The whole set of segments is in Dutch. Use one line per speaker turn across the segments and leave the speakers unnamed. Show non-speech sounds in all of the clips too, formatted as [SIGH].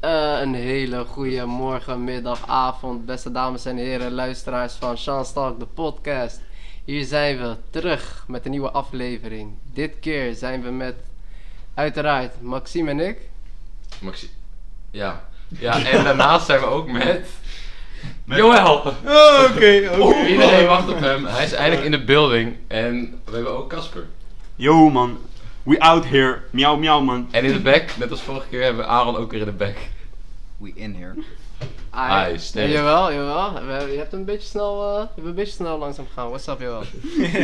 Eh, Een hele goede morgen, middag, avond, beste dames en heren, luisteraars van Sean Stalk, de podcast. Hier zijn we terug met een nieuwe aflevering. Dit keer zijn we met, uiteraard, Maxime en ik.
Maxi ja. Ja, en daarnaast zijn we ook met...
Met-
Joël!
Oh, Oké, oké.
Iedereen wacht op hem. Hij is eindelijk in de building. En we hebben ook Casper.
Yo man, we out here. Miauw, miauw man.
En in de back, net als vorige keer, hebben we Aaron ook weer in de back.
We in here.
Ai.
Ai, sterk.
Jawel, jawel. We- je hebt een beetje snel, eh, je bent een beetje snel langzaam gegaan. What's up, Joël?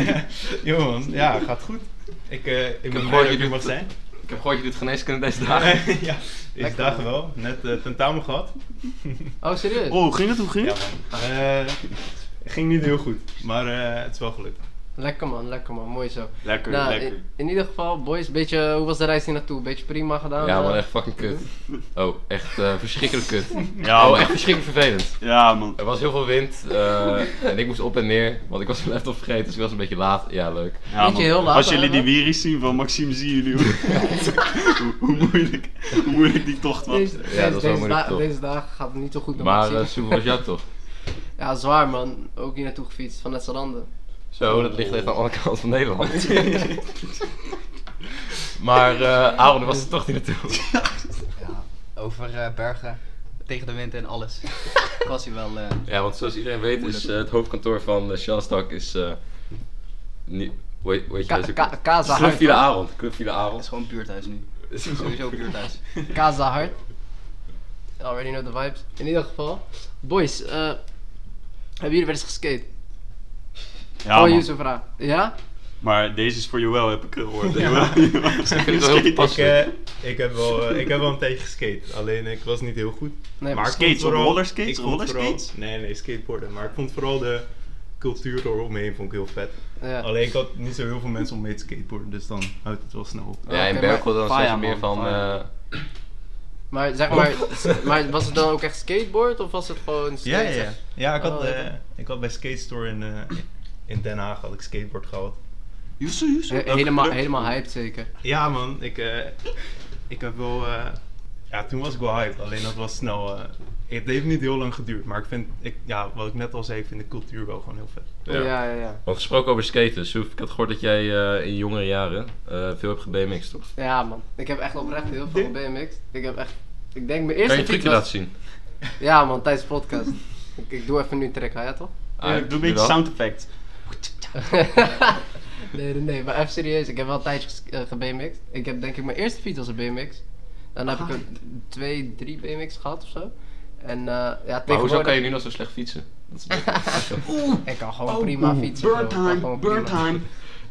[LAUGHS] Yo man, ja, gaat goed. Ik, eh ik ben
gehoord
blij
je
dat ik
doet
er mag
het.
zijn.
Ik heb gehoord, je doet geneeskunde deze dagen.
[LAUGHS] ja, deze
Lekker,
dagen
man.
wel. Net eh tentamen gehad.
Oh, serieus?
Oh, ging het? Hoe ging
Ja
het?
man. Eh, ging niet heel goed, maar eh, het is wel gelukt.
Lekker man, lekker man. Mooi zo.
Lekker,
nou,
lekker.
In, in ieder geval, boys, beetje, hoe was de reis hier naartoe? Beetje prima gedaan?
Ja
eh?
man, echt fucking kut. Oh, echt eh, verschrikkelijk kut.
Ja,
Oh,
man.
echt verschrikkelijk vervelend.
Ja, man.
Er was heel veel wind eh, en ik moest op en neer, want ik was mijn laptop vergeten, dus ik was een beetje laat. Ja, leuk.
Ja,
Weet je
man.
heel laat
Als jullie die
hebben?
wieries zien van Maxime, zien jullie hoe, [LAUGHS] hoe, hoe moeilijk, hoe moeilijk die tocht was.
Deze,
dat is
deze,
wel
deze
moeilijk,
da-
toch?
deze dagen gaat het niet zo goed met
Maar
Maxime.
eh super was jou toch?
Ja, zwaar man. Ook hier naartoe gefietst, vanuit Zalanden.
Zo, dat ligt echt aan de andere kant van Nederland. maar eh Aaron was er toch niet naartoe.
[LAUGHS] Over eh, bergen, tegen de wind en alles. Ik was hier wel. eh,
[LAUGHS] Ja, want zoals iedereen weet is eh, het hoofdkantoor van uh, Sjanstak is... eh niet, hoe heet- hoe heet je
Ka-
deze-
Ka- Kaza
Club
Hart.
Villa Arend. Club Villa
het is
Arend.
gewoon buurthuis nu. Sowieso buurthuis.
Kaza Hart. Already know the vibes. In ieder geval. Boys, eh, hebben jullie wel eens geskate?
Ja,
oh,
man.
Yusuf vraag. Ja?
Maar deze is voor Joël, heb ik gehoord.
Ja.
[LAUGHS]
Joël,
Ik vind het wel heel
Ik,
passend.
eh, ik, heb wel, eh, ik heb wel een tijdje geskate, alleen ik was niet heel goed.
Nee,
Maar ik
Skates
vond
op
vooral-
rollerskates?
ik vond
Rollerskates?
vooral- nee, nee, skateboarden. Maar ik vond vooral de cultuur eromheen vond ik heel vet.
Ja.
Alleen ik had niet zo heel veel mensen om mee te skateboarden, dus dan houdt het wel snel op.
Ja, in
Oké,
Berkel
maar-
dan zijn ze
Fire,
meer
man,
van...
fire.
eh,
Maar zeg
[LAUGHS]
maar, maar was het dan ook echt skateboard of was het gewoon skate?
Ja, ja, ja. Ja, ik had,
Oh, ja.
eh, ik had bij Skate Store in, eh, in Den Haag had ik skateboard gehaald.
Yusuf, Yusuf.
He- helemaal, helemaal hyped zeker.
Ja man, ik, eh, ik heb wel... eh, ja, toen was ik wel hyped, alleen dat was snel... eh, het heeft niet heel lang geduurd, maar ik vind... Ik, ja, wat ik net al zei, ik vind de cultuur wel gewoon heel vet.
Ja, ja, ja. ja.
Want gesproken over skaten, Soef, ik had gehoord dat jij eh, in jongere jaren eh, veel hebt gebmx'd, toch?
man. Ik heb echt oprecht heel veel BMX. Ik heb echt, ik denk mijn eerste
Kan je
fiets
een trucje
was-
laten zien?
Ja man, tijdens de podcast. ik, ik doe even nu een trick, hè, ja toch?
Ah,
doe een beetje
dat.
sound effect.
nee, nee, nee, maar even serieus. Ik heb wel een tijdje ges- eh, gebmx'd. Ik heb denk ik mijn eerste fiets als een BMX. Dan heb ik een twee, drie BMX gehad of zo. En eh ja,
Maar
tegenwoordig...
hoezo kan je nu nog zo slecht fietsen? Dat is een
[LAUGHS]
beetje-
Ik kan
Oh,
gewoon Oh, prima fietsen. bro.
Burn
Ik kan
time,
gewoon
burn
prima.
time.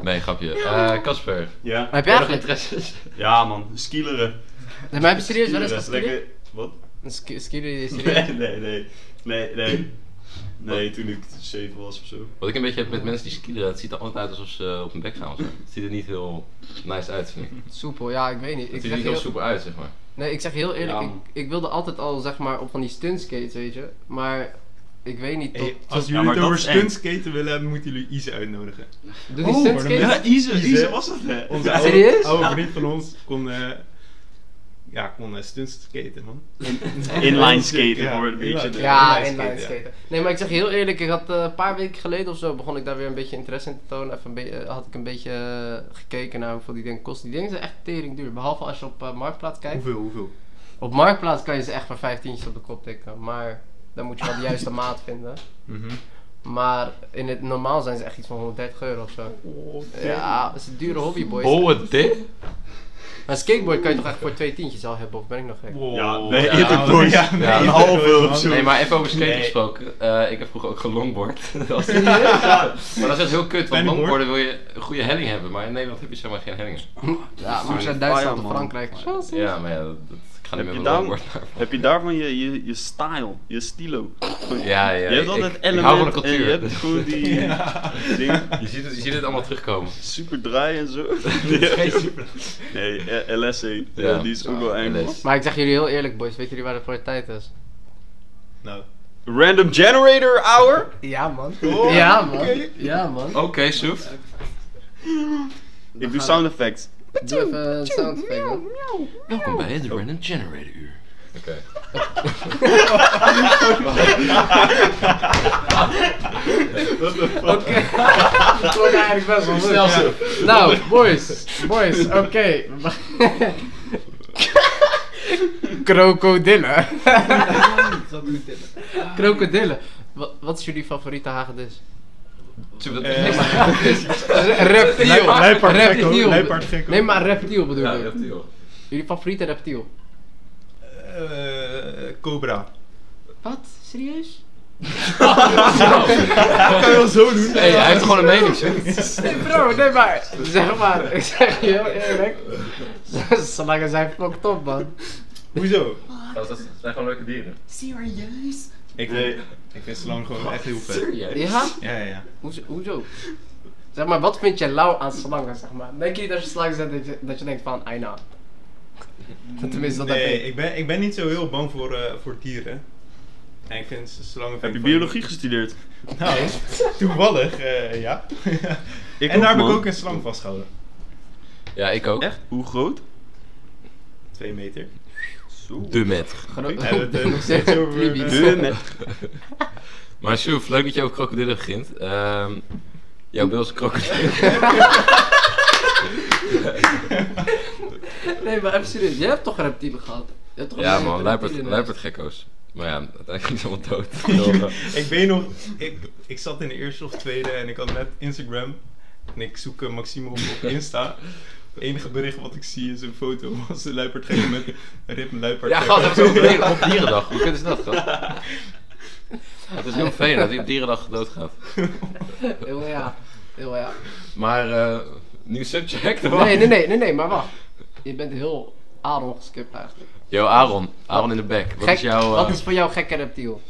Nee, grapje. Eh, Casper, heb
Ja.
Maar heb
je
jij
nog
eigenlijk...
interesses?
Ja, man. Skileren.
Nee, maar heb je serieus wel eens
Skileren.
geskieden?
Lekker. Wat?
Een ski- skieden is serieus.
[LAUGHS]
[LAUGHS] Nee, nee, nee. Nee, nee. Nee, toen ik 7 was of zo.
Wat ik een beetje heb met mensen die skiën, het ziet er altijd uit alsof ze eh, op hun bek gaan of zo. Het ziet er niet heel nice uit, vind ik. Het
Soepel, ja, ik weet niet. Ik
ziet er
zeg
niet heel
heel,
soepel uit, zeg maar.
nee, ik zeg heel eerlijk,
Ja,
ik,
man.
ik wilde altijd al zeg maar op van die stuntskates, weet je. Maar ik weet niet, tot,
Hey, als
Ja,
jullie
maar
het
dat
over
is eng.
stuntskaten willen hebben, moeten jullie Ise uitnodigen.
doe die
maar dan
stuntskates?
ben
Ja, Ize.
Ize.
Ize was het, hè?
Onze
Ja.
oude-
serieus?
oude vriend van ons kon, eh ja, kon eh, stuntskaten man.
Inline skaten
Ja,
voor een beetje.
[LAUGHS]
inline.
Ja,
Inline
inline
skaten, ja.
skaten. Nee, maar ik zeg je heel eerlijk, ik had eh, een paar weken geleden of zo begon ik daar weer een beetje interesse in te tonen. Even een be- eh, had ik een beetje eh, gekeken naar hoeveel die dingen kosten. Die dingen zijn echt tering duur. Behalve als je op eh, Marktplaats kijkt.
Hoeveel, hoeveel?
Op Marktplaats kan je ze echt voor vijftientjes op de kop tikken. Maar dan moet je wel de juiste maat vinden.
Mhm.
Maar in het normaal zijn ze echt iets van 130 euro of zo. Ja, dat is een dure hobby, boys.
Bolle dit?
Maar skateboard kan je toch echt voor twee tientjes al hebben, of ben ik nog gek?
Ja,
Wow.
nee,
Ja,
eerder
ouwe.
door.
[LAUGHS] Ja,
Ja,
een
nee.
[LAUGHS]
halve of zo.
Nee, maar even over skaten
Nee.
gesproken. Eh, ik heb vroeger ook gelongboard. Dat was-
Ja.
[LAUGHS] maar dat is echt heel kut, want
Pennyboard.
longboarden wil je een goede helling hebben, maar in Nederland heb je zeg maar geen hellingen.
Ja, maar
Sorry.
als je uit Duitsland of
Fireman.
Frankrijk...
Ja, maar ja, dat, dat- ik ga
Heb
niet
je
meer
down?
longboard naar.
Heb je daarvan je, je, je style, je stilo?
Ja, ja.
je hebt
ik-
altijd
ik,
element
Ik hou van de
en
cultuur.
je hebt
[LAUGHS]
gewoon die ding,
Je ziet, het, je ziet het allemaal terugkomen.
super draai en zo. nee, eh, LS heet, eh,
Ja. Ah,
die is
Ja,
ook wel eng.
LS.
man.
Maar ik zeg jullie heel eerlijk, boys. Weten jullie waar het voor de tijd is?
Nou.
Random generator hour?
Ja, man. [LAUGHS]
Oh,
ja, man.
oké.
Ja, man.
Oké, Oh. Soef.
Ik doe sound effects.
Doe even een sound effect, man.
Oh. Welkom bij het Random Generator Uur. Oké.
Oh,
Oké.
Dat klonk eigenlijk best wel leuk.
Snel
ja.
zo.
Nou, boys. Boys, oké. [LAUGHS] Krokodillen.
Dat doet dit.
Krokodillen. Wat, wat is jullie favoriete hagedis?
Tjoe, dat-
Eh,
Reptiel.
Luipaard gekko,
reptiel.
luipaard gekko.
Nee, maar reptiel bedoel
Ja,
ik.
reptiel.
Jullie favoriete reptiel?
Eh, Cobra.
Wat? Serieus?
Dat kan je wel zo doen.
Oh. Hey, hij heeft gewoon een mening, zeg.
Nee bro, nee maar. Zeg maar, [LAUGHS] ik zeg je heel eerlijk. [LAUGHS] Slangen zijn fucked up man.
[LAUGHS] Hoezo?
Dat zijn gewoon leuke dieren.
Serieus?
Ik, ik vind slang gewoon echt heel vet.
Serieus?
Ja?
Ja, ja, ja.
Hoezo? hoezo? Zeg maar, wat vind je lauw aan slangen, zeg maar? Denk je niet als je slangen zet dat je, dat je denkt van, ai nou. Tenminste, dat
nee,
heb ik.
ik. ben, ik ben niet zo heel bang voor, eh, voor dieren. En ik vind slangen...
Heb je biologie gestudeerd?
Nou, toevallig, eh, ja.
Ik
en daar heb ik
ook, man.
ook een slang vastgehouden.
Ja, ik ook.
Echt? Hoe groot?
Twee meter.
Zo.
De met.
Geno-
Ja, dat,
[LAUGHS]
eh, nog steeds over,
Libië.
eh,
De met.
Maar Sjoef, leuk dat je over krokodillen begint. Ehm, jouw beeld is een krokodil.
[LAUGHS] Nee, maar even serieus. Jij hebt toch reptielen gehad? Je hebt toch
Ja
een
man, luipert,
reptielen?
luipertgekko's. Maar ja, uiteindelijk is allemaal dood. Heel, eh,
Ik weet nog, ik, ik zat in de eerste of tweede en ik had net Instagram. En ik zoek eh, Maxime
[LAUGHS]
op op Insta. Het enige bericht wat ik zie is een foto [LAUGHS] van zijn luipaardgekker met een rib en luipaard.
Ja, gast, dat is op
[LAUGHS]
dieren- [LAUGHS] op dierendag. Hoe kut is dat, gast? Het is heel vervelend dat hij op dierendag doodgaat.
Heel ja. Heel ja.
Maar, eh, nieuw subject hoor.
Nee, nee, nee, nee, nee, maar wacht. Je bent heel Aaron geskipt eigenlijk.
Yo, Aaron. Aaron in de back. Wat is jouw...
wat
eh,
is voor jou gekke reptiel?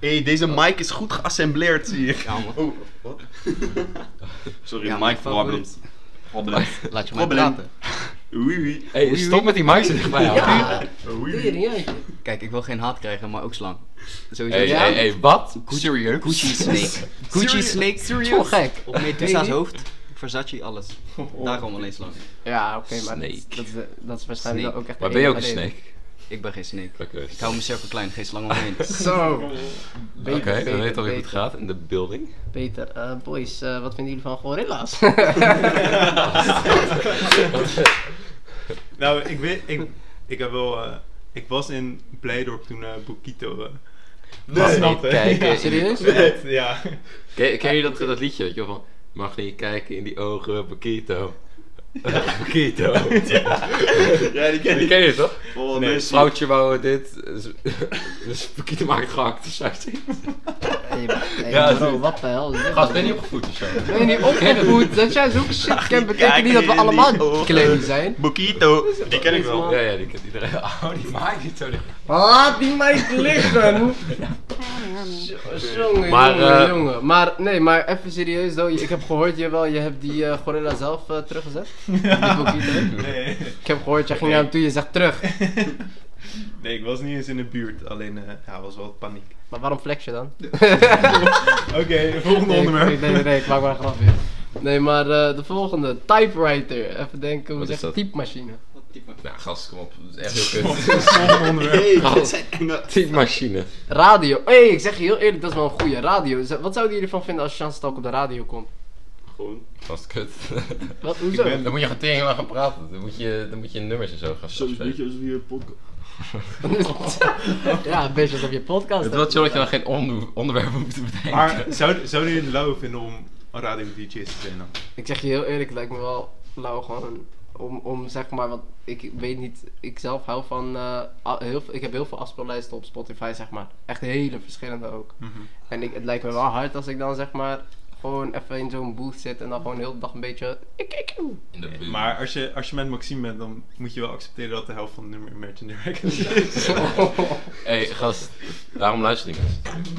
Hé, deze mic is goed geassembleerd, zie je.
Ja, man.
Oh, wat?
Sorry,
Ja,
mic
mijn favoriet.
problems. Problems.
Laat je maar
Probleem.
praten.
Oei, oei.
hey, stop met die mic zo dichtbij, Aaron.
Ja,
Oei, oei.
tering, jeetje.
Kijk, ik wil geen haat krijgen, maar ook slang. Sowieso.
Hey,
Ja.
hey, hey, wat?
Serieus? Gucci Snake. Gucci Snake.
Gewoon gek.
Op Medusa's hoofd. Versace, alles. Daarom alleen slang.
Ja, oké, maar dat,
Snake.
dat, is, eh, dat is waarschijnlijk
Snake.
ook echt
Maar
de
ben je ook een
enige reden.
snake?
Ik ben geen snake.
Oké,
Ik hou mijn cirkel klein, geen slang omheen. [LAUGHS]
Zo.
Oké, we weten al
dat
hoe het gaat in de building.
Peter, eh, boys, eh, wat vinden jullie van [LAUGHS] gorilla's?
[LAUGHS] Nou, ik weet, ik, ik heb wel, eh, ik was in Blijdorp toen eh Bokito eh, was dat, hè?
[LAUGHS] kijken.
Ja,
Serieus?
[LAUGHS] echt, ja.
Ken, ken je dat, dat liedje, weet je wel, van... Mag niet kijken in die ogen, [LAUGHS] Bakito. Bakito.
Ja, die ken
Die
ik.
ken je toch?
Oh,
Nee,
nee,
Het vrouwtje wou dit, dus, [LAUGHS] dus Bakito maakt gehakt, dus hij zegt-
Nee, maar- nee,
Ja,
bro,
dude.
wat de hel is dit?
Gast, ben je niet opgevoed of zo?
Ben je niet
[LAUGHS]
opgevoed? Dat jij zo'n shit kent, betekent
Kijk
niet dat we
in die
allemaal
ogen.
kleding zijn.
Boquito. Die ken ik wel.
Ja, ja, die kent iedereen. [LAUGHS] Oh, die maakt niet zo dicht.
Laat Ah, die meid
[LAUGHS]
liggen! Jongen,
Maar,
jongen,
eh,
jongen. Maar, nee, maar even serieus, though. ik heb gehoord, je, wel, je hebt die eh, gorilla zelf eh,
[LAUGHS]
teruggezet. Die Bokito.
Nee,
Ik heb gehoord, jij ging naar hem toe, je zegt terug.
nee, ik was niet eens in de buurt, alleen eh ja, was wel paniek.
Maar waarom flex je dan?
Oké, volgende
Nee, ik-
onderwerp.
Nee, nee, nee, ik maak maar een grapje. Nee, maar eh, de volgende, typewriter. Even denken, hoe
Wat
zeg
is
je
dat?
typemachine?
Nou, gast, kom op. Dat is echt heel kut.
[LAUGHS] Volgende onderwerp.
Hé, dit zijn enge...
[LAUGHS] Typemachine.
Radio. Hé, hey, ik zeg je heel eerlijk, dat is wel een goeie. Radio. Z- Wat zouden jullie van vinden als Chance Talk op de radio komt?
Gewoon.
Gast, kut.
Wat, hoezo?
Ik ben-
Dan moet je gaan tegen maar gaan praten. Dan moet je, dan moet je nummers en zo gaan
Zo een beetje
spelen.
als we hier podcast.
[LAUGHS] ja, een beetje alsof je podcast
Het
hebt.
was chill dat je dan geen onder- onderwerpen moet bedenken. [LAUGHS]
Maar zou, zouden jullie het lauw vinden om een radio-dj's te zijn dan?
Ik zeg je heel eerlijk, het lijkt me wel lauw gewoon om, om zeg maar, want ik weet niet, ik zelf hou van, eh, a- heel, veel- ik heb heel veel afspeellijsten op Spotify zeg maar. Echt hele verschillende ook.
Mhm.
En ik, het lijkt me wel hard als ik dan zeg maar gewoon even in zo'n booth zit en dan gewoon heel de dag een beetje... Ik, ik, ik-
In de buurt.
Maar als je, als je met Maxime bent, dan moet je wel accepteren dat de helft van de nummer Imagine
[LAUGHS]
Dragons is.
hey, gast, daarom luister ik niet.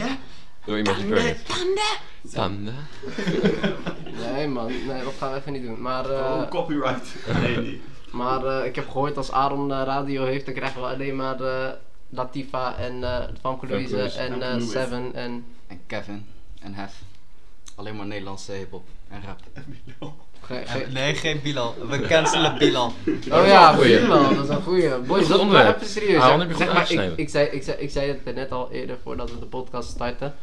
Door Imagine Dragons. Tanda.
Nee man, nee, dat gaan we even niet doen. Maar, eh,
Oh, copyright. [LAUGHS] Nee, nee.
maar eh, ik heb gehoord als Aaron eh, radio heeft, dan krijgen we alleen maar eh, Latifa en eh Famke Louise
Louise.
en
Famke
eh,
Louise.
Seven en...
En Kevin. En Hef. Alleen maar Nederlandse hiphop en rap.
Ge-
Eh,
ge-
Nee, geen Bilal. We cancelen Bilal.
Oh ja,
goeie.
Bilal, dat is een goeie. Boys,
een
dat maar
onderwerp.
even serieus.
Aaron,
hè.
heb je
Zeg
goed
maar, ik,
aangesneden.
ik, zei, ik, zei, ik zei het net al eerder voordat we de podcast starten.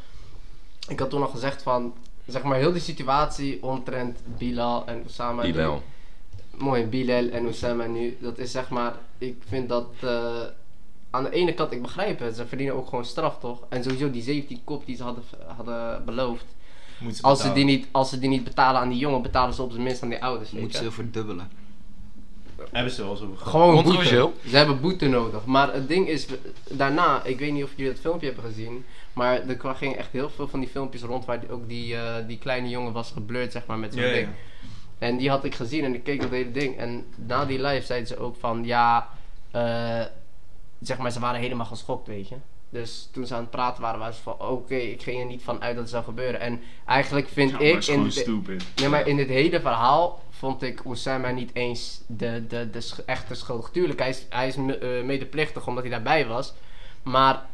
Ik had toen al gezegd van, zeg maar, heel die situatie omtrent Bilal en Osama. nu-
Bilal.
Mooi, Bilal en Osama nu. Dat is zeg maar, ik vind dat... eh, aan de ene kant, ik begrijp het, ze verdienen ook gewoon straf, toch? En sowieso die 17 kop die ze hadden, hadden beloofd.
Moeten ze
Als ze, die
betalen.
niet, als ze die niet betalen aan die jongen, betalen ze op zijn minst aan die ouders. weet je.
Moeten ze verdubbelen.
Hebben ze wel zo gehad.
Gewoon
Controversieel.
boete. Ze hebben boete nodig. Maar het ding is, we- daarna, ik weet niet of jullie dat filmpje hebben gezien. Maar er kwa- ging echt heel veel van die filmpjes rond waar die- ook die, eh, die kleine jongen was geblurred, zeg maar, met zo'n
Ja, ja.
ding. En die had ik gezien en ik keek dat hele ding. En na die live zeiden ze ook van, ja, eh, zeg maar, ze waren helemaal geschokt, weet je. Dus toen ze aan het praten waren, waren ze van, oké, ik ging er niet van uit dat het zou gebeuren. En eigenlijk vind
Ja, maar
ik...
het is
in
gewoon
de-
stupid.
Nee, maar in dit hele verhaal vond ik Osama niet eens de, de, de sch- echte schuldig. Tuurlijk, hij is, hij is me- eh, medeplichtig omdat hij daarbij was. Maar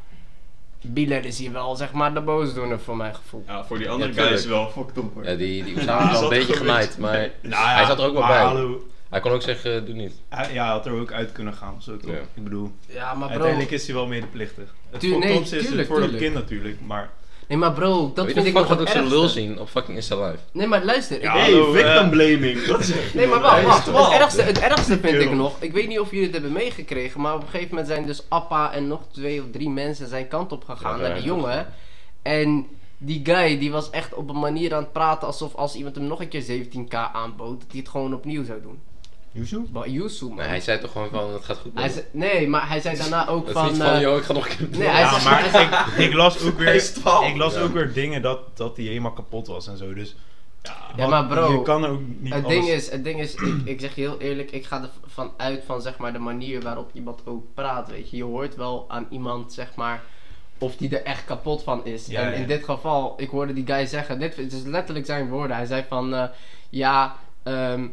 Bilal is hier wel, zeg maar, de boosdoener voor mijn gevoel.
Ja, voor die andere
Ja,
guy
tuurlijk.
is het wel fucked up hoor.
Ja, die, die Osama
Die
is al
zat
een beetje
er geweest.
genaaid, maar
Nou ja,
hij zat er ook wel
maar
bij.
hallo.
Hij kon ook zeggen, eh, doe niet.
Hij- ja, hij had er ook uit kunnen gaan, zo toch?
Ja.
Ik bedoel,
Ja, maar Ah, bro.
uiteindelijk is hij wel medeplichtig. Het
Tuur- nee,
voorkomt is het
tuurlijk,
voor dat
tuurlijk.
kind natuurlijk, maar...
Nee, maar bro, dat
Wie de
vind ik
fuck
nog
gaat
het
ook zo'n lul
ergste.
zien op fucking Insta Live?
Nee, maar luister. ik-
Ja,
Hey,
hallo,
victim
eh.
blaming. Dat [LAUGHS] zeg
Nee, maar wacht,
Hij
wacht.
is
Het
twaalf.
ergste, het ergste vind ik
kerel.
nog. Ik weet niet of jullie het hebben meegekregen, maar op een gegeven moment zijn dus Appa en nog twee of drie mensen zijn kant op gegaan
Ja,
naar
ja,
die
ja.
jongen. En die guy die was echt op een manier aan het praten alsof als iemand hem nog een keer 17k aanbood, dat hij het gewoon opnieuw zou doen.
Yuzu?
Wa- Yusu, man.
Nee, hij zei toch gewoon van, het gaat goed.
Hij
man.
zei- nee, maar hij zei daarna ook
Dat is
van.
niet van,
eh,
joh, ik ga nog een keer doen.
nee, hij
Ja,
zei,
maar
hij zei- [LAUGHS]
ik, ik las ook weer,
Hij is 12.
ik las
Ja.
ook weer dingen dat, dat hij helemaal kapot was en zo, dus... Ja,
Ja,
wat-
maar bro,
Je kan ook niet
Het
alles...
ding is, het ding is ik, ik zeg je heel eerlijk, ik ga ervan uit van zeg maar de manier waarop iemand ook praat, weet je. Je hoort wel aan iemand, zeg maar, of die er echt kapot van is.
Ja,
en
ja.
in dit geval, ik hoorde die guy zeggen, dit het is letterlijk zijn woorden. Hij zei van, eh, ja, ehm,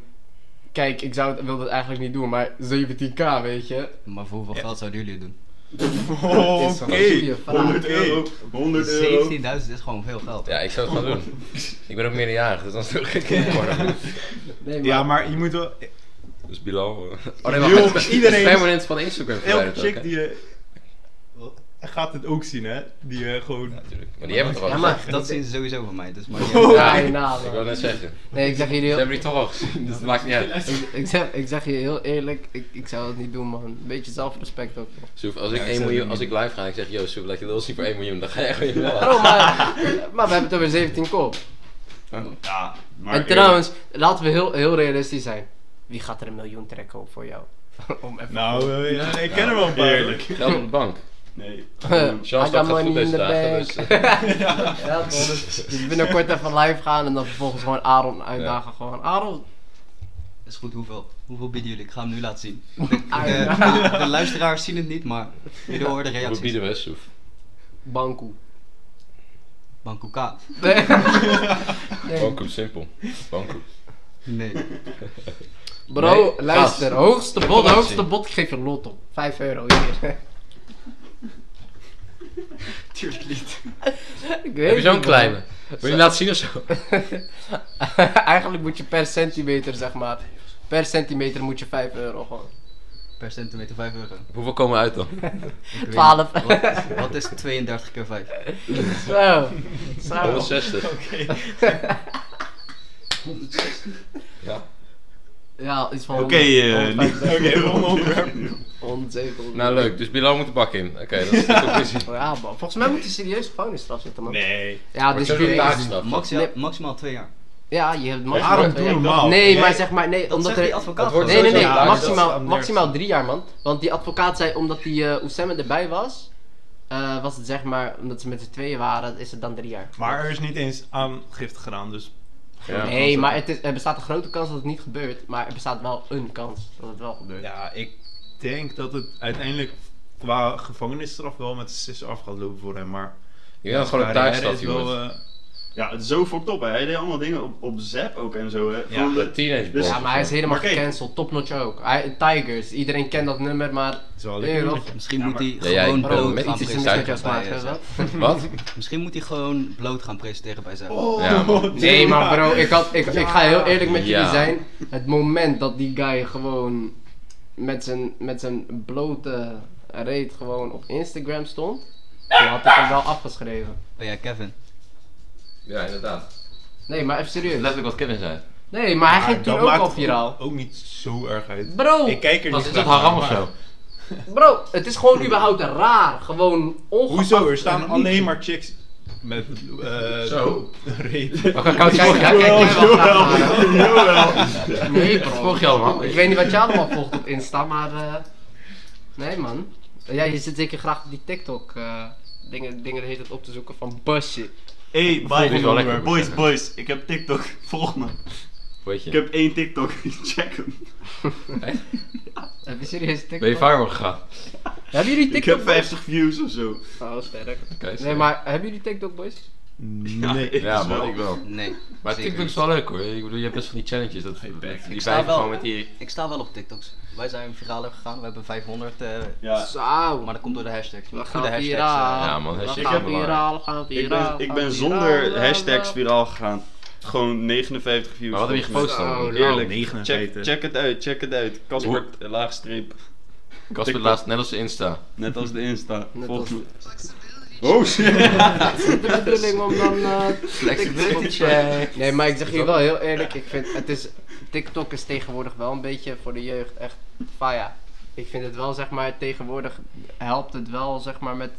kijk, ik zou het, wilde het eigenlijk niet doen, maar 17k, weet je.
Maar voor hoeveel geld zouden jullie het doen?
[LAUGHS] Oh,
is
Oké,
een goede vraag.
100 euro. 100 euro.
17.000 is gewoon veel geld.
Ja, ik zou het gaan doen. Ik ben ook meerderjarig, dus dan is het ook geen kinderporno.
Nee, maar,
ja, maar je moet wel...
Dus Bilal... eh.
Oh,
Joh,
iedereen...
is permanent van Instagram verwijderd
Elke
ook, hè?
chick die je... Gaat het ook zien, hè? Die eh, gewoon...
Natuurlijk. Maar die hebben het
Ja,
al.
maar-
Dat zien ze sowieso van mij, [LAUGHS] dus maar niet
Oh.
uit.
Ja,
Ja,
inderdaad,
Ik
man.
wil net zeggen.
Nee, ik zeg jullie
Ze
heel,
hebben die toch al gezien, dus het maakt niet uit.
ik, ik zeg, ik zeg je heel eerlijk, ik, ik zou het niet doen, man. Een beetje zelfrespect ook.
Soef, als ik,
Ja, ik
1
zou
miljoen,
het
als ik live ga en ik zeg, yo Soef, laat je lul zien voor 1 miljoen, dan ga jij gewoon je
Bro,
wel.
Oh, maar, maar we hebben toch weer 17 kop.
Ja, maar
en
eerlijk.
trouwens, laten we heel, heel realistisch zijn. Wie gaat er een miljoen trekken op voor jou? [LAUGHS] Om even
Nou, eh, ja, ik ken hem wel een paar.
Eerlijk.
Geld op de bank. [LAUGHS]
Nee.
Charles,
I
dat
got
gaat
money
goed
in
deze
the
dagen, [LAUGHS]
bank.
dus... eh,
Ja, toch, dus, dus binnenkort even live gaan en dan vervolgens gewoon Aaron uitdagen. Gewoon, Aaron,
Is goed, hoeveel? Hoeveel bieden jullie? Ik ga hem nu laten zien.
Ah,
De,
ja.
Eh,
[LAUGHS]
de- de luisteraars zien het niet, maar jullie horen de
Hoe
reacties.
eh, bieden we, Soef?
Banku.
Banco K.
[LAUGHS] Nee. nee.
Bankoep, simpel. Bankoep.
Nee.
Bro,
Nee,
luister.
gast.
Hoogste bod,
Informatie.
hoogste bod. Ik geef je lot op. 5 euro
[LAUGHS]
hier.
Tuurlijk niet.
[LAUGHS] Ik weet
Heb je zo'n
niet, bro.
kleine? [LAUGHS] Wil je die laten zien of zo?
[LAUGHS] Eigenlijk moet je per centimeter, zeg maar. Per centimeter moet je 5 euro gewoon.
Per centimeter 5 euro.
[LAUGHS] Hoeveel komen uit dan?
Ik weet
12. [LAUGHS]
niet. Wat, wat is 32 keer 5?
Zo. Zo.
[LAUGHS] 160.
Oké.
Ja.
Ja, iets van.
Oké, eh, niet- [LAUGHS]
Oké, volgende onderwerp.
Nou leuk, dus Bilal moet de bak in. Oké, dat is de [LAUGHS] conclusie.
Ja, man. Volgens mij moet hij serieus gevangenisstraf zitten, man.
Nee.
Ja, dus
Wordt sowieso
jullie-
taakstraf.
Maximaal,
Nee.
maximaal 2 jaar.
Ja, je hebt maximaal.
Waarom
twee
doe
jaar.
normaal?
Nee,
Jij-
maar zeg maar, nee,
Dat
omdat
zegt die
er-
advocaat.
dat wordt
Nee, nee, nee,
Ja, dat is
maximaal,
anders.
maximaal drie jaar, man. Want die advocaat zei, omdat die eh Oussama erbij was, eh, was het zeg maar, omdat ze met z'n tweeën waren, is het dan drie jaar.
Maar er is niet eens aangifte gedaan, dus...
Ja.
nee, maar het is, er bestaat een grote kans dat het niet gebeurt, maar er bestaat wel een kans dat het wel gebeurt.
Ja, ik denk dat het uiteindelijk qua gevangenisstraf wel met zes af gaat lopen voor hem, maar...
Ik wil dat het gewoon een
carrière
taakstraf,
is wel,
jongens.
eh,
Ja, het is zo fucked up, hè. Hij deed allemaal dingen op, op Zap ook en zo, hè. Gewoon
De
de-
teenage
Dus-
Boys.
Ja, maar hij is helemaal
Maar kijk.
gecanceld. Topnotch ook. Hij, Tigers, iedereen kent dat nummer, maar... Nee, toch?
Misschien
Ja,
moet hij
Ja, jij
gewoon
bent
bloot
met
gaan
iets is
iets mis met jouw
presenteren
smaak,
bij
hè?
eh,
wat?
[LAUGHS] Wat?
Misschien moet hij gewoon bloot gaan presenteren bij zijn.
Oh,
Ja, man.
[LAUGHS]
Nee, maar bro, ik, had, ik, ik ga heel eerlijk met jullie
Ja.
zijn. Het moment dat die guy gewoon met zijn, met zijn blote reet gewoon op Instagram stond, toen had ik hem wel afgeschreven.
Ben jij Kevin?
Ja, inderdaad.
Nee, maar even serieus.
Letterlijk wat Kevin zei.
Nee, maar hij ging toen
dat
ook
maakt
al
ook-
viraal.
Ook niet zo erg uit.
Bro,
Ik kijk er
Wat
niet
is dat,
naar,
haram of
maar-
zo?
bro, het is gewoon überhaupt raar. Gewoon ongeacht.
Hoezo? Er staan alleen maar chicks met eh [LAUGHS]
Zo.
reet.
Oké, kan ik
Kijk,
kijken?
kijk, kijk, jij wel graag naar.
Jawel.
Nee,
Dat
bro.
volg je allemaal.
Ik weet niet wat jij allemaal volgt op Insta, maar. eh, nee, man. Ja, je zit zeker graag op die TikTok. eh, dingen, dingen heet het op te zoeken van busje.
Hey,
Volg
bye.
ons wel lekker.
Boys, boys, ik heb TikTok. [LAUGHS] Volg me.
Weet
Ik
je,
heb één TikTok. [LAUGHS] Check hem.
Heb je serieus TikTok?
ben je viral gegaan?
Hebben jullie
Ik
TikTok?
heb 50 views of zo.
boys? Oh, sterk.
Oké,
Nee, maar hebben jullie TikTok, boys?
Nee,
Ja, man, ik wel.
Nee.
Maar
zeker
TikTok is
niet.
wel leuk hoor. Ik bedoel, je hebt best van die challenges. Dat, dat- die
sta
blijven
wel-
gewoon met die...
Ik sta wel op TikToks. Wij zijn viraler gegaan, we hebben 500. eh,
Ja.
Zo.
Maar dat komt door de hashtags.
we gaan
Goede hashtags. eh, [LAUGHS]
viraal.
ja, man, hashtag
we
is
gaan
belangrijk.
viraal, we gaan
Ik
viraal.
ben, ik
gaan
ben
viraal,
zonder
bla, [LAUGHS]
hashtags
bla.
viraal gegaan. Gewoon 59 views.
Maar wat heb je gepost
Zo,
dan?
Eerlijk.
49.
Check, check het uit, check het uit. Casper,
Hoe-
eh, laagstreep.
Casper laatst net als zijn Insta.
Net als de Insta.
Net
Volg
als
me. Oh shit.
de bedoeling om dan eh, TikTok- Nee, maar ik zeg je wel heel eerlijk, ik vind het is TikTok is tegenwoordig wel een beetje voor de jeugd echt faya. Ik vind het wel zeg maar tegenwoordig helpt het wel zeg maar met,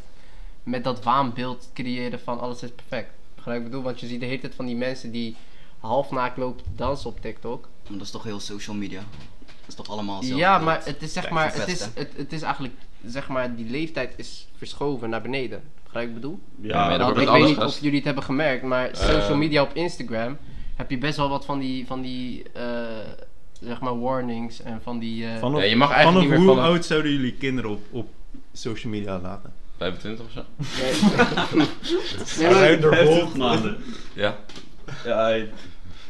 met dat waanbeeld creëren van alles is perfect. Begrijp je wat ik bedoel, want je ziet de hele tijd van die mensen die halfnaakt lopen te dansen op TikTok.
Maar Dat is toch heel social media? Dat is toch allemaal hetzelfde?
Ja, maar het is zeg
Kijk,
maar het
verpest,
is het, het is eigenlijk zeg maar die leeftijd is verschoven naar beneden. Begrijp je wat ik bedoel?
Ja, maar dat
Want
wordt
ik
alles
weet
[LAUGHS]
niet
gast.
of jullie het hebben gemerkt, maar social
Eh.
media op Instagram heb je best wel wat van die, van die eh, zeg maar, warnings en van die... eh,
Vanaf,
Ja, je mag eigenlijk
vanaf
niet meer
hoe
vanaf-
oud zouden jullie kinderen op, op social media laten?
25 of zo?
nee, maar,
maanden.
Ja.
Ja, hij-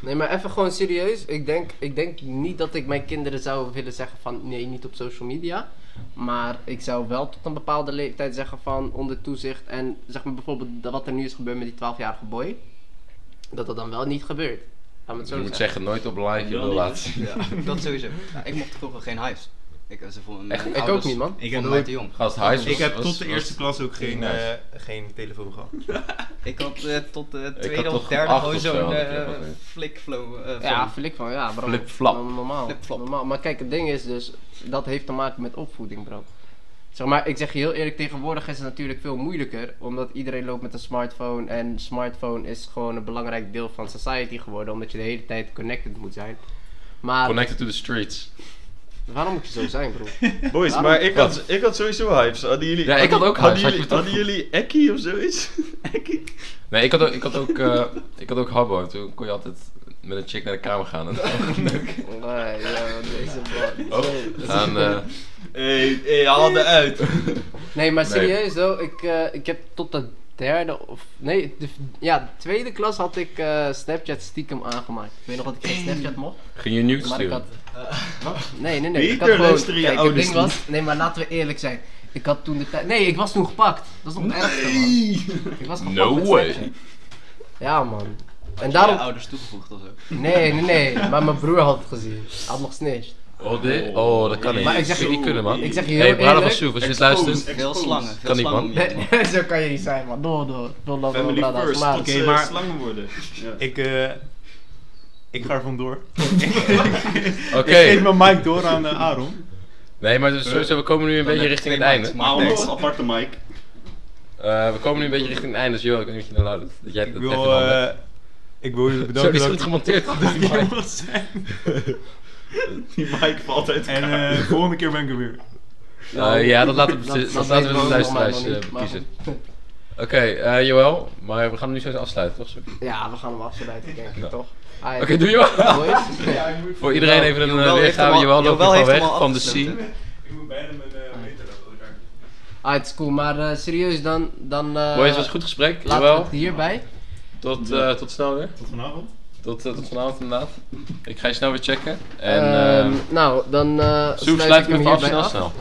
nee, maar even gewoon serieus. Ik denk, ik denk niet dat ik mijn kinderen zou willen zeggen van nee, niet op social media. Maar ik zou wel tot een bepaalde leeftijd zeggen van onder toezicht. En zeg maar bijvoorbeeld dat wat er nu is gebeurd met die 12-jarige boy. Dat dat dan wel niet gebeurt. Laat me het
Je
zo
moet
zeggen.
zeggen, nooit op live je
Wel
wil
niet,
laten zien. [LAUGHS]
Dat sowieso. Ik mocht vroeger geen hives. Ik, eh, ze vonden,
Echt?
mijn
Ik ook
ouders
niet, man.
Ik
vonden
heb,
mij te jong.
Gast, hij is-
ik heb
was-
tot de
was-
eerste klas ook geen,
was-
eh, geen telefoon gehad.
Ik had eh, tot de
had
tweede
tot
of derde
acht
gewoon
of zo
zo'n
had ik
eh,
dat, ja.
flikflow. eh,
Ja,
van-
flik van, ja bro.
Flip-flap.
Norm- Normaal.
Flip-flop.
Normaal. Maar kijk, het ding is dus, dat heeft te maken met opvoeding bro. Zeg maar, ik zeg je heel eerlijk, tegenwoordig is het natuurlijk veel moeilijker. Omdat iedereen loopt met een smartphone. En smartphone is gewoon een belangrijk deel van society geworden. Omdat je de hele tijd connected moet zijn. Maar
Connected to the streets.
waarom moet je zo zijn
[LAUGHS]
bro?
Boys,
Waarom-
maar ik had, ik had sowieso hypes. Hadden jullie,
Ja, ik had ook
hadden
hypes, had je
Jullie,
het ook?
hadden jullie Ekkie of zoiets? Ekkie?
Nee, ik had ook, ik had ook, eh, ik had ook Habbo. Toen kon je altijd met een chick naar de kamer gaan. En,
Nee, ja, deze bro.
Oh. en, eh,
Hey, hey, haal de uit.
Nee, maar
Nee.
serieus hoor, ik, eh, ik heb tot de derde of... Nee, de, ja, de tweede klas had ik eh, Snapchat stiekem aangemaakt. Ik weet nog dat ik geen Snapchat mocht.
ging je nudes
Maar ik
sturen.
had. Wat? [LAUGHS] Nee, nee, nee.
Beter
ik had gewoon,
luisteren je
kijk, het
ouders
ding was. Nee, maar laten we eerlijk zijn. Ik had toen de tijd. Nee, ik was toen gepakt. Dat is nog het ergste, man. Ik was gepakt.
No
met
way.
Snapchat. Ja, man. En
Daarom...
daarom.
ouders toegevoegd of zo.
Nee, nee, nee. Maar mijn broer had het gezien. Hij had nog snitched.
Oh, dit? Oh, dat kan niet.
Maar ik zeg
Zou
je-
niet kunnen, man.
Ik zeg je heel
Hey, Brada van
eerlijk.
Soef, als je dit luistert.
Veel slangen. Veel
Kan niet,
slangen
man.
om je heen, man.
Nee, [LAUGHS] zo kan je niet zijn, man. Door, door. Door, door, door,
[LAUGHS] Family
door, door,
first,
maar-
tot
Oké,
ze
maar-
slangen worden. Ja.
Ik, eh, ik ga er vandoor.
Oké.
Ik geef mijn mic door aan eh, Aaron.
Nee, maar dus sowieso, we komen nu een beetje
heb
richting
je
het
twee
einde.
mics,
maar
Next.
onder een aparte mic.
Eh, we komen nu een beetje richting het einde, dus joh, ik weet niet of je nou luid doet. Dat jij
Ik
dat
wil, eh, ik wil jullie
Zo, die
bedanken
is
dat
goed
ik
gemonteerd. Eh,
hier mocht zijn.
[LAUGHS] Die mic valt uit
En
elkaar.
eh, volgende keer ben ik er weer.
Eh, ja, dat laten we,
Nou, Dat- dat
dat
weten
laten we de
we allemaal
luisteraars
nog niet,
eh,
maar
kiezen. Oké, eh, Joël, maar we gaan hem nu zo eens afsluiten, toch? Soef? Oké,
Ja, we gaan hem afsluiten, denk ik,
Ja.
toch? Oké,
doe Joël!
Boys.
Voor iedereen even een
Joël
eh,
heeft hem
weergave.
al-
Joël loopt
Joël
gewoon
heeft hem
weg
al
van de
afgesloten.
scene.
Ik moet bijna mijn meter
Ah, het is cool. Maar eh, serieus dan. dan eh,
Boys, het was een goed gesprek.
Laten we
Joël,
het hierbij.
Tot,
Ja.
eh, tot snel weer.
Tot vanavond.
Tot, eh, tot vanavond inderdaad. Ik ga je snel weer checken. En
Ehm,
ehm
nou, dan eh
Soef,
sluit ik hem
hem even af,
hierbij
snel,
af.
snel.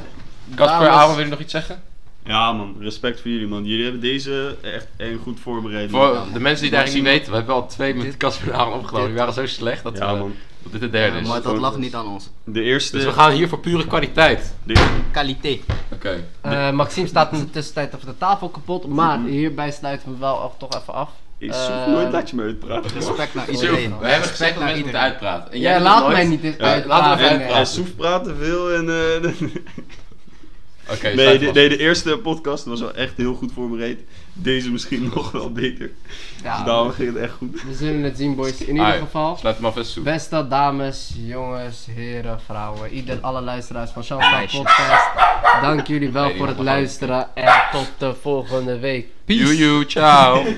Casper,
Dames-
Aaron, wil je nog iets zeggen?
Ja man, respect voor jullie man. Jullie hebben deze echt heel goed voorbereid.
Voor
man.
de mensen die het eigenlijk niet weten, we hebben al twee met Casper en Aaron opgenomen. Die waren zo slecht dat,
Ja
we-
man.
dat dit de derde is.
maar dat lag niet aan ons.
De eerste...
Dus we gaan hier voor pure kwaliteit.
de-
Kwaliteit.
Oké.
Eh, Maxime staat in de tussentijd over de tafel kapot,
[LAUGHS]
maar hierbij sluiten we wel af- toch even af.
Ik
Eh,
zoek nooit laat je me uitpraten. man.
Respect naar
Soef, we
iedereen.
hebben
Respect
gezegd dat
naar
mensen moeten
iedereen.
uitpraten. En
Jij
doet
laat
nooit.
mij niet dit
Ja,
uitpraten.
laten we even
nee.
En Soef praten veel en... eh, [LAUGHS]
Oké,
nee,
sluit
de,
vast.
nee, de eerste podcast was wel echt heel goed voorbereid. Deze misschien [LAUGHS] nog wel beter.
Ja,
Dus daarom ging het echt goed.
we zullen het zien, boys. In ieder
Alright,
geval,
Sluit hem af en Soef.
beste dames, jongens, heren, vrouwen, ieder, alle luisteraars van Champagne
Meisjes.
Podcast. Dank jullie wel
Nee,
voor het
jongen,
luisteren en tot de volgende week.
Joe, joe, ciao.